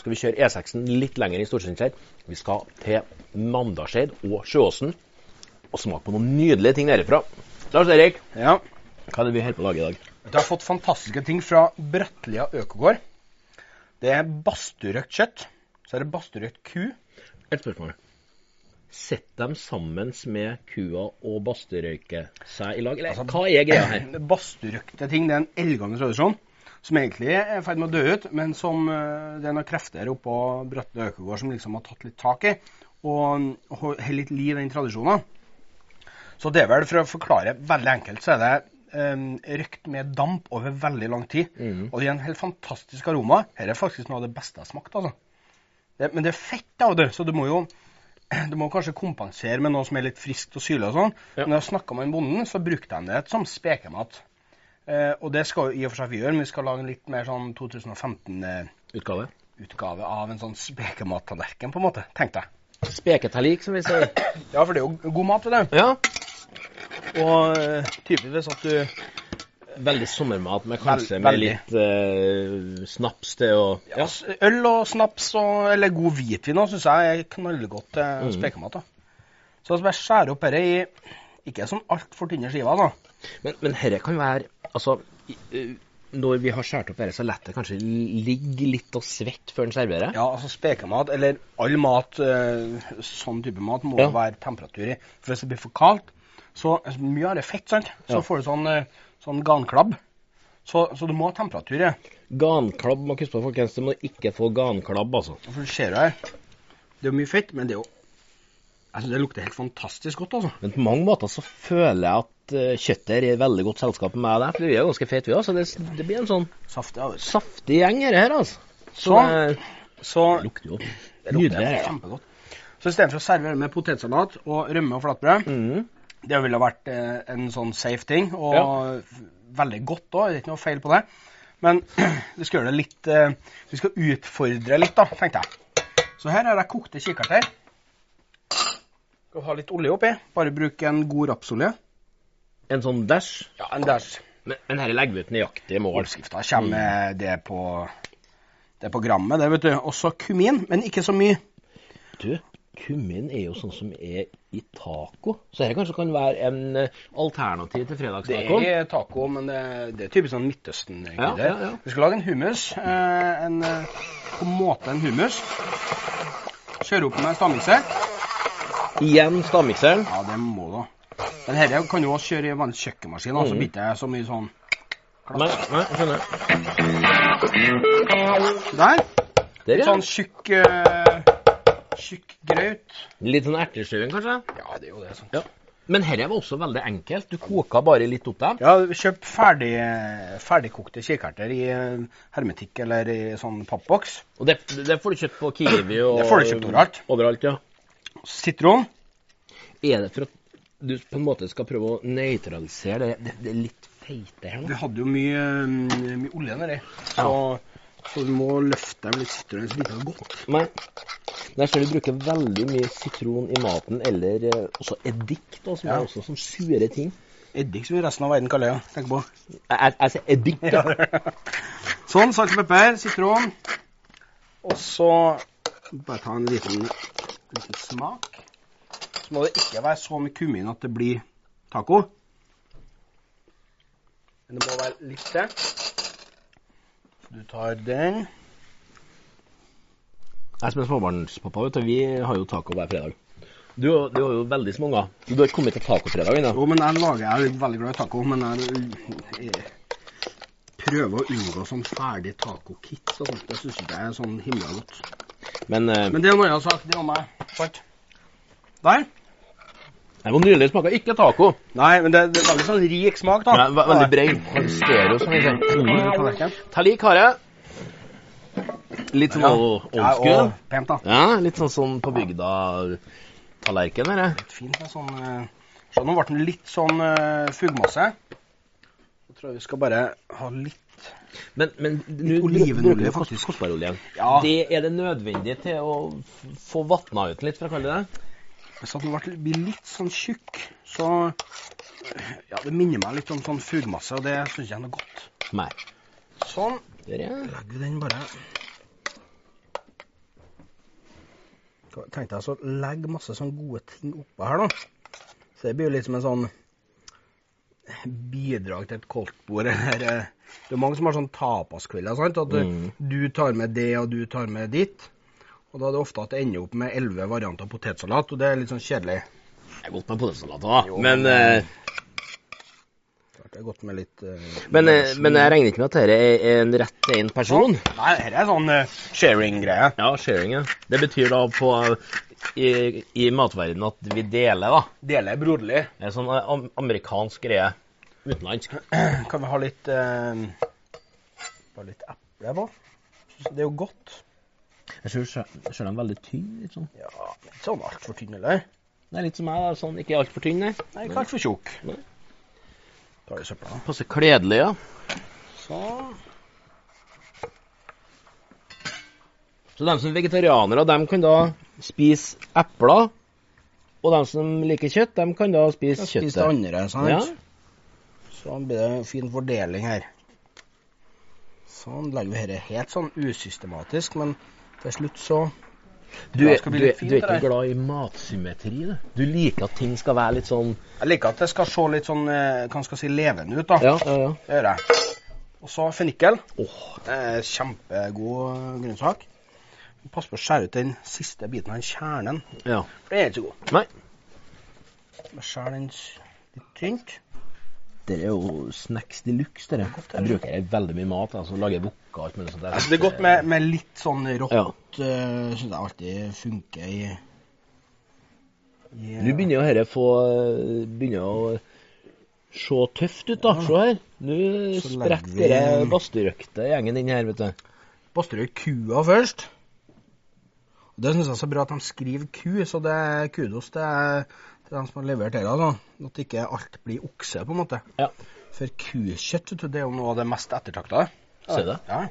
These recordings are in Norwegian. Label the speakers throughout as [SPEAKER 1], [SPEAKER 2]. [SPEAKER 1] skal vi kjøre E6-en litt lenger enn Storsundskjær. Vi skal til Namdalseid og Sjøåsen og smake på noen nydelige ting derifra. Lars Erik,
[SPEAKER 2] Ja.
[SPEAKER 1] hva er det vi holder på å lage i dag?
[SPEAKER 2] Du har fått fantastiske ting fra Bratlia økogård. Det er basturøkt kjøtt. Så er det basturøkt ku.
[SPEAKER 1] Et spørsmål. Sitter de sammen med kua og basterøyke seg i lag, eller
[SPEAKER 2] Altså,
[SPEAKER 1] hva er greia her?
[SPEAKER 2] Basturøkte ting det er en eldgammel tradisjon som egentlig er i ferd med å dø ut, men som eh, det er noen krefter oppå Bratlia økogård som liksom har tatt litt tak i og og holder litt liv i den tradisjonen. Så det er vel, for å forklare veldig enkelt, så er det eh, røkt med damp over veldig lang tid.
[SPEAKER 1] Mhm.
[SPEAKER 2] Og det gir en helt fantastisk aroma. Her er faktisk noe av det beste jeg har smakt. altså. Det, men det er fett, da, vet du, så du må jo du må kanskje kompensere med noe som er litt friskt og syrlig. og sånn.
[SPEAKER 1] Ja.
[SPEAKER 2] Men når jeg snakka med en bonden, så brukte han det som spekemat. Eh, og det skal jo i og for seg vi gjøre, men vi skal lage en litt mer sånn 2015-utgave
[SPEAKER 1] Utgave?
[SPEAKER 2] eh, av en sånn spekemattallerken, på en måte. Tenk deg.
[SPEAKER 1] Speketallik, som vi sier.
[SPEAKER 2] Ja, for det er jo god mat, det.
[SPEAKER 1] Ja.
[SPEAKER 2] der. Og eh, tydeligvis at du
[SPEAKER 1] Veldig sommermat, men kanskje
[SPEAKER 2] Vel-
[SPEAKER 1] med
[SPEAKER 2] veldig.
[SPEAKER 1] litt eh, snaps til og
[SPEAKER 2] Ja, s- Øl og snaps og, eller god hvitvin òg syns jeg er knallgodt til
[SPEAKER 1] Mm.
[SPEAKER 2] spekemat. da. Så jeg skal bare skjære opp dette i ikke sånn altfor tynne skiver. da.
[SPEAKER 1] Men, men herre kan være Altså, i- eh, når vi har skåret opp dette, så lar det kanskje ligge litt og svette før den serverer?
[SPEAKER 2] Ja, altså spekemat, eller all mat, eh, sånn type mat, må
[SPEAKER 1] Ja.
[SPEAKER 2] det være temperatur i. For hvis det blir for kaldt, så altså, mye av det er fett, sant? Så
[SPEAKER 1] Ja.
[SPEAKER 2] får du sånn, eh, sånn ganklabb. Så, så du må ha temperatur i.
[SPEAKER 1] Ganklabb må huske på, folkens. Du må ikke få ganklabb, altså.
[SPEAKER 2] For du ser jo her, det er jo mye fett, men det er jo Jeg synes det lukter helt fantastisk godt, altså.
[SPEAKER 1] Men på mange måter så føler jeg at eh, kjøttet er i veldig godt selskap med meg der. For vi er ganske fete, vi òg, så det, det blir en sånn
[SPEAKER 2] Saftig. av det.
[SPEAKER 1] saftig gjeng her, her altså. Så
[SPEAKER 2] Sånn.
[SPEAKER 1] det
[SPEAKER 2] Så
[SPEAKER 1] lukter jo
[SPEAKER 2] det
[SPEAKER 1] nydelig
[SPEAKER 2] lukter
[SPEAKER 1] her. da.
[SPEAKER 2] kjempegodt. Så istedenfor å servere med potetsalat og rømme og flatbrød,
[SPEAKER 1] Mhm.
[SPEAKER 2] Det ville vært eh, en sånn safe ting, og
[SPEAKER 1] Ja.
[SPEAKER 2] f- veldig godt òg. Det er ikke noe feil på det. Men vi skal gjøre det litt eh, Vi skal utfordre litt, da, tenkte jeg. Så her har jeg kokte kikerter. Skal ha litt olje oppi. Bare bruk en god rapsolje.
[SPEAKER 1] En sånn dash.
[SPEAKER 2] Ja, en dash.
[SPEAKER 1] Men, men her legger vi ut nøyaktige mål.
[SPEAKER 2] Oppskrifta kommer det på det er på grammet, det, vet du. Også kumin, men ikke så mye.
[SPEAKER 1] Du, kummin er jo sånn som er i taco. Så dette kanskje kan være en eh, alternativ til
[SPEAKER 2] Det
[SPEAKER 1] fredagstacoen.
[SPEAKER 2] er taco, men det, det er typisk sånn Midtøsten.
[SPEAKER 1] Ja,
[SPEAKER 2] egentlig.
[SPEAKER 1] ja, ja.
[SPEAKER 2] Vi skal lage en hummus. Eh, en, eh, på en måte en hummus. Kjøre opp med stavmikser.
[SPEAKER 1] Igjen stavmikseren.
[SPEAKER 2] Ja, det må du. Men dette kan du også kjøre i en vanlig kjøkkenmaskin. da, Så
[SPEAKER 1] Mhm.
[SPEAKER 2] blir det så mye sånn
[SPEAKER 1] Nei, nei, jeg skjønner.
[SPEAKER 2] Der.
[SPEAKER 1] Der,
[SPEAKER 2] Litt
[SPEAKER 1] ja.
[SPEAKER 2] sånn tjukk eh, Tjukk grøt.
[SPEAKER 1] Litt sånn ertesjuing, kanskje.
[SPEAKER 2] Ja, det er jo det. sånn.
[SPEAKER 1] Ja. Men dette var også veldig enkelt. Du koka bare litt opp dem.
[SPEAKER 2] Ja, kjøp ferdig, ferdigkokte kikerter i eh, hermetikk eller i sånn pappboks.
[SPEAKER 1] Og det, det får du kjøpt på Kiwi og
[SPEAKER 2] Det får du kjøpt overalt.
[SPEAKER 1] Overalt, ja.
[SPEAKER 2] Sitron.
[SPEAKER 1] Er det for at du på en måte skal prøve å nøytralisere det, det, det litt feite her
[SPEAKER 2] Vi
[SPEAKER 1] nå?
[SPEAKER 2] hadde jo mye, mm, mye olje nedi, så, så du må løfte dem litt sitron, så blir det godt.
[SPEAKER 1] Nei. Nei, jeg ser du bruker veldig mye sitron i maten, eller eh, også eddik, da, som
[SPEAKER 2] Ja.
[SPEAKER 1] er også som sure ting.
[SPEAKER 2] Eddik som resten av verden kaller det. Tenk på.
[SPEAKER 1] Jeg, jeg, jeg sier eddik, ja.
[SPEAKER 2] Sånn, salt og pepper, sitron. Og så bare ta en liten, liten smak. Så må det ikke være så mye kummin at det blir taco. Men det må være litt til. Så Du tar den.
[SPEAKER 1] Jeg som er småbarnspappa, vet du, vi har jo taco hver fredag. Du, har- du har jo veldig små unger. Du har ikke kommet til tacofredag ennå.
[SPEAKER 2] Jo, men jeg lager Jeg er veldig glad i taco, men jeg, jeg prøver å unngå sånn ferdig taco-kit. og sånt. Det syns ikke jeg er sånn himla godt.
[SPEAKER 1] Men eh,
[SPEAKER 2] Men det er en annen sak. Det er om meg. Sant? Der.
[SPEAKER 1] jeg var nylig smaka ikke taco.
[SPEAKER 2] Nei, men det, det er veldig sånn rik smak, da.
[SPEAKER 1] Men jeg var veldig bred. Stereo, som vi sier. Mm.
[SPEAKER 2] Ja, det er tallerken.
[SPEAKER 1] Talik har jeg. Litt sånn old
[SPEAKER 2] Ja,
[SPEAKER 1] old school.
[SPEAKER 2] og pent, da.
[SPEAKER 1] Ja, litt sånn sånn på bygda-tallerken her. jeg.
[SPEAKER 2] Fint med sånn eh, Så nå ble den litt sånn eh, fugmasse. Jeg tror jeg vi skal bare ha litt
[SPEAKER 1] Men, men nå
[SPEAKER 2] Litt olivenolje,
[SPEAKER 1] bruker vi kos-
[SPEAKER 2] faktisk.
[SPEAKER 1] Kostbaroljen.
[SPEAKER 2] Ja.
[SPEAKER 1] Det er det nødvendig til å f- få vatna ut den litt, for å kalle det det?
[SPEAKER 2] Hvis at den ble- blir litt sånn tjukk, så Ja, det minner meg litt om sånn fugmasse, og det syns jeg er noe godt.
[SPEAKER 1] Nei.
[SPEAKER 2] Sånn.
[SPEAKER 1] Der, ja.
[SPEAKER 2] Legger vi den bare Tenkte jeg så legge masse sånn gode ting oppå her, da. Så det blir jo litt som en sånn bidrag til et koldtbord. Eller, eh, det er mange som har sånn tapaskvelder. sant? At du,
[SPEAKER 1] Mm.
[SPEAKER 2] du tar med det, og du tar med ditt. Og da er det ofte at det ender opp med elleve varianter av potetsalat, og det er litt sånn kjedelig.
[SPEAKER 1] Det er godt med potetsalat òg,
[SPEAKER 2] Jo,
[SPEAKER 1] men,
[SPEAKER 2] men-
[SPEAKER 1] eh,
[SPEAKER 2] Klart Det er godt med litt eh,
[SPEAKER 1] men, eh, men jeg regner ikke med at dette er en rett til én person.
[SPEAKER 2] Nei, dette er sånn eh, sharing-greie.
[SPEAKER 1] Ja, sharing, ja. Det betyr da på eh, i, i matverdenen at vi deler, da.
[SPEAKER 2] Dele broderlig.
[SPEAKER 1] Det er sånn eh, am amerikansk greie. Utenlandsk.
[SPEAKER 2] Kan vi ha litt eh, Bare litt eple, da? Det er jo godt.
[SPEAKER 1] Jeg ser, ser den veldig tynn litt sånn.
[SPEAKER 2] Ja, Ikke sånn altfor tynn, eller?
[SPEAKER 1] Det er litt som meg, da. Sånn, ikke altfor tynn, nei.
[SPEAKER 2] Nei, ikke altfor tjukk.
[SPEAKER 1] Nei.
[SPEAKER 2] Tar vi søpla, da.
[SPEAKER 1] Passer kledelig, ja.
[SPEAKER 2] Sånn.
[SPEAKER 1] Så de som er vegetarianere, de kan da spise epler. Og de som liker kjøtt, de kan da spise
[SPEAKER 2] Spis det
[SPEAKER 1] kjøttet.
[SPEAKER 2] andre, sant?
[SPEAKER 1] Ja.
[SPEAKER 2] Sånn blir det en fin fordeling her. Sånn legger vi dette helt sånn usystematisk, men til slutt så
[SPEAKER 1] Du,
[SPEAKER 2] Ja,
[SPEAKER 1] er-
[SPEAKER 2] det skal bli
[SPEAKER 1] du, er-
[SPEAKER 2] litt fint,
[SPEAKER 1] du er
[SPEAKER 2] det
[SPEAKER 1] ikke
[SPEAKER 2] der.
[SPEAKER 1] glad i matsymmetri, du. Du liker at ting skal være litt sånn
[SPEAKER 2] Jeg liker at det skal se litt sånn eh, hva skal jeg si, levende ut, da.
[SPEAKER 1] Ja, ja, ja.
[SPEAKER 2] Det gjør jeg. Og så fennikel.
[SPEAKER 1] Åh,
[SPEAKER 2] Det er kjempegod grønnsak. Pass på å skjære ut den siste biten av den kjernen,
[SPEAKER 1] ja.
[SPEAKER 2] for den er ikke så god.
[SPEAKER 1] Nei.
[SPEAKER 2] Bare Skjær den s- litt tynt.
[SPEAKER 1] Det er jo snacks de luxe, dere. Jeg bruker jeg veldig mye mat. altså Lager bukker og alt mulig sånt. der.
[SPEAKER 2] Altså, det er godt med, med litt sånn rått.
[SPEAKER 1] Ja.
[SPEAKER 2] eh, Synes jeg alltid funker i, i
[SPEAKER 1] Nå begynner jo dette få Begynner å se tøft ut, da. Se her. Nå
[SPEAKER 2] Så legger vi-
[SPEAKER 1] spretter det badstuerøkte gjengen inn her, vet du.
[SPEAKER 2] Baster du kua først? Og Det synes jeg er så bra at de skriver ku, så det er kudos til, til dem som har levert det. Altså. At ikke alt blir okse, på en måte.
[SPEAKER 1] Ja.
[SPEAKER 2] For kukjøtt vet du, det er jo noe av det mest ettertrakta.
[SPEAKER 1] Ser du det?
[SPEAKER 2] Ja.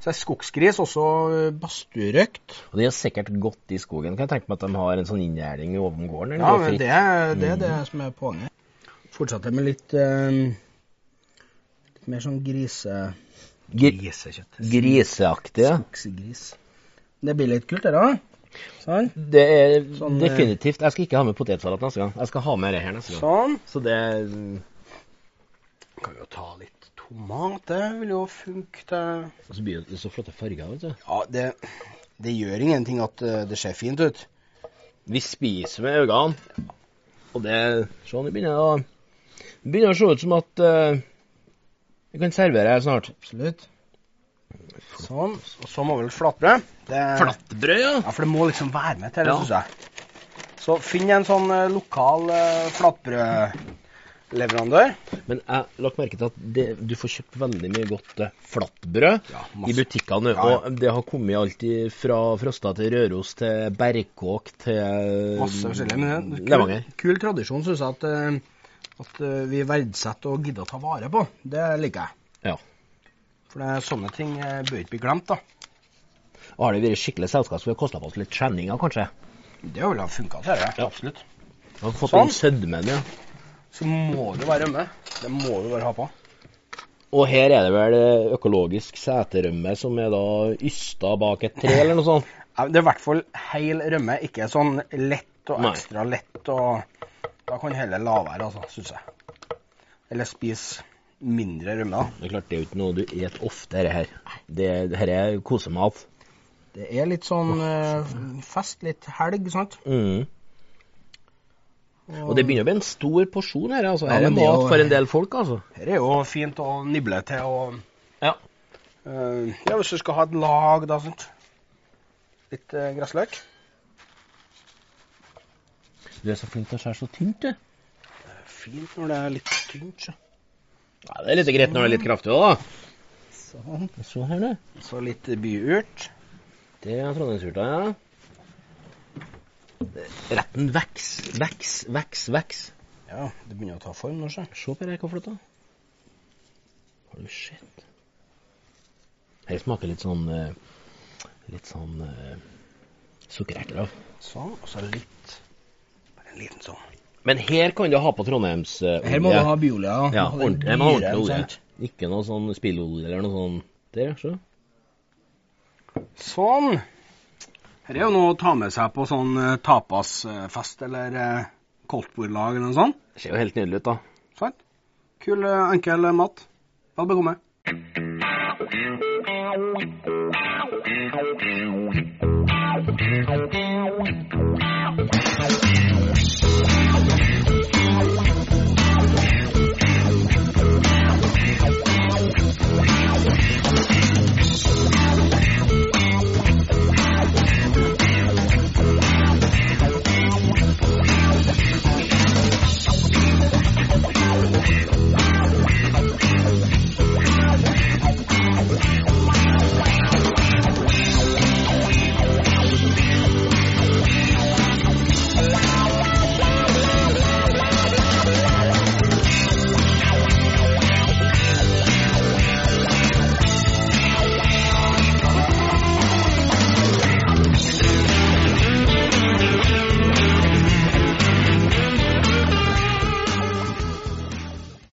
[SPEAKER 2] Så er skogsgris også eh, basturøkt.
[SPEAKER 1] Og de har sikkert gått i skogen. Kan jeg tenke meg at de har en sånn inngjerding oven gården? eller
[SPEAKER 2] Ja,
[SPEAKER 1] noe
[SPEAKER 2] men
[SPEAKER 1] fritt?
[SPEAKER 2] det er det, er det
[SPEAKER 1] Mm.
[SPEAKER 2] som er poenget. Fortsetter med litt, eh, litt mer sånn grise...
[SPEAKER 1] Gri-
[SPEAKER 2] Grisekjøtt.
[SPEAKER 1] Griseaktig, ja.
[SPEAKER 2] Skogsgris. Det blir litt kult, det da. Sånn.
[SPEAKER 1] Det er
[SPEAKER 2] Sånn, eh,
[SPEAKER 1] definitivt Jeg skal ikke ha med potetsalat neste gang. Jeg skal ha med det her neste gang.
[SPEAKER 2] Sånn.
[SPEAKER 1] Så det er
[SPEAKER 2] Kan jo ta litt tomat, det vil jo funke til
[SPEAKER 1] Og så blir det så flotte farger, vet du.
[SPEAKER 2] Ja, det, det gjør ingenting at eh, det ser fint ut.
[SPEAKER 1] Vi spiser med øynene. Og det Sånn, det begynner å Det begynner å se ut som at eh, vi kan servere her snart.
[SPEAKER 2] Absolutt. Sånn. Og så må vi vel flatbrød. Det,
[SPEAKER 1] Flatbrød, ja.
[SPEAKER 2] Ja, for det må liksom være med til det,
[SPEAKER 1] Ja.
[SPEAKER 2] synes jeg. Så finn en sånn eh, lokal eh, flatbrødleverandør.
[SPEAKER 1] Men jeg lagt merke til at det, du får kjøpt veldig mye godt eh, flatbrød
[SPEAKER 2] Ja,
[SPEAKER 1] i
[SPEAKER 2] masse.
[SPEAKER 1] butikkene.
[SPEAKER 2] Ja, ja.
[SPEAKER 1] Og det har kommet alltid fra Frosta til Røros til Berkåk til eh,
[SPEAKER 2] Masse forskjellig. Men det er en
[SPEAKER 1] Levanger.
[SPEAKER 2] kul, kul tradisjon, synes jeg, at, eh, at eh, vi verdsetter og gidder å ta vare på. Det liker jeg.
[SPEAKER 1] Ja.
[SPEAKER 2] For det er sånne ting eh, bør ikke bli glemt, da.
[SPEAKER 1] Og har det vært skikkelig selskap, så vi har kosta på oss litt skjenninger, kanskje.
[SPEAKER 2] Det ville ha funka, ser jeg.
[SPEAKER 1] Ja.
[SPEAKER 2] Absolutt.
[SPEAKER 1] Vi har fått
[SPEAKER 2] Sånn.
[SPEAKER 1] den sødmen, ja.
[SPEAKER 2] Så må det være rømme. Det må du bare ha på.
[SPEAKER 1] Og her er det vel økologisk seterømme som er da ysta bak et tre, eller noe sånt.
[SPEAKER 2] Ja, Det er i hvert fall hel rømme, ikke sånn lett og
[SPEAKER 1] Nei.
[SPEAKER 2] ekstra lett. og Da kan du heller la være, altså, syns jeg. Eller spise mindre rømme. da.
[SPEAKER 1] Det er klart, det er jo ikke noe du et ofte, dette her. Det, dette er kosemat.
[SPEAKER 2] Det er litt sånn eh, fest, litt helg, sant?
[SPEAKER 1] Mm. Og det begynner å bli en stor porsjon her, altså.
[SPEAKER 2] Ja,
[SPEAKER 1] Her er
[SPEAKER 2] men det er
[SPEAKER 1] mat
[SPEAKER 2] jo-
[SPEAKER 1] for en del folk, altså.
[SPEAKER 2] Her er jo fint å nible til og
[SPEAKER 1] Ja.
[SPEAKER 2] eh, Ja, hvis du skal ha et lag, da, sant. Litt eh, gressløk.
[SPEAKER 1] Du er så flink til å skjære så tynt, du.
[SPEAKER 2] Fint når det er litt tynt. så.
[SPEAKER 1] Ja, det er litt greit når det er litt kraftig òg, da. Sånn, se her nå.
[SPEAKER 2] Så litt byurt.
[SPEAKER 1] Det er trondheimsurta, ja. Retten veks, veks, veks, veks.
[SPEAKER 2] Ja, det begynner å ta form nå, sjø.
[SPEAKER 1] Se på det, hvor flott da. Holy shit. Her smaker litt sånn, eh, litt sånn eh, sukkererter av.
[SPEAKER 2] Sånn, og så litt Bare en liten sånn.
[SPEAKER 1] Men her kan du ha på Trondheims eh,
[SPEAKER 2] Her må
[SPEAKER 1] olje.
[SPEAKER 2] du ha biolja.
[SPEAKER 1] Ja, ordentlig, jeg må ha ordentlig olje. Ikke noe sånn spillolje eller noe sånn. Der, se.
[SPEAKER 2] Sånn. Her er jo noe å ta med seg på sånn eh, tapasfest eller eh, koldtbordlag eller noe sånt.
[SPEAKER 1] Det ser jo helt nydelig ut, da.
[SPEAKER 2] Sant? Kul, eh, enkel eh, mat. Vel bekomme.
[SPEAKER 3] Thank you.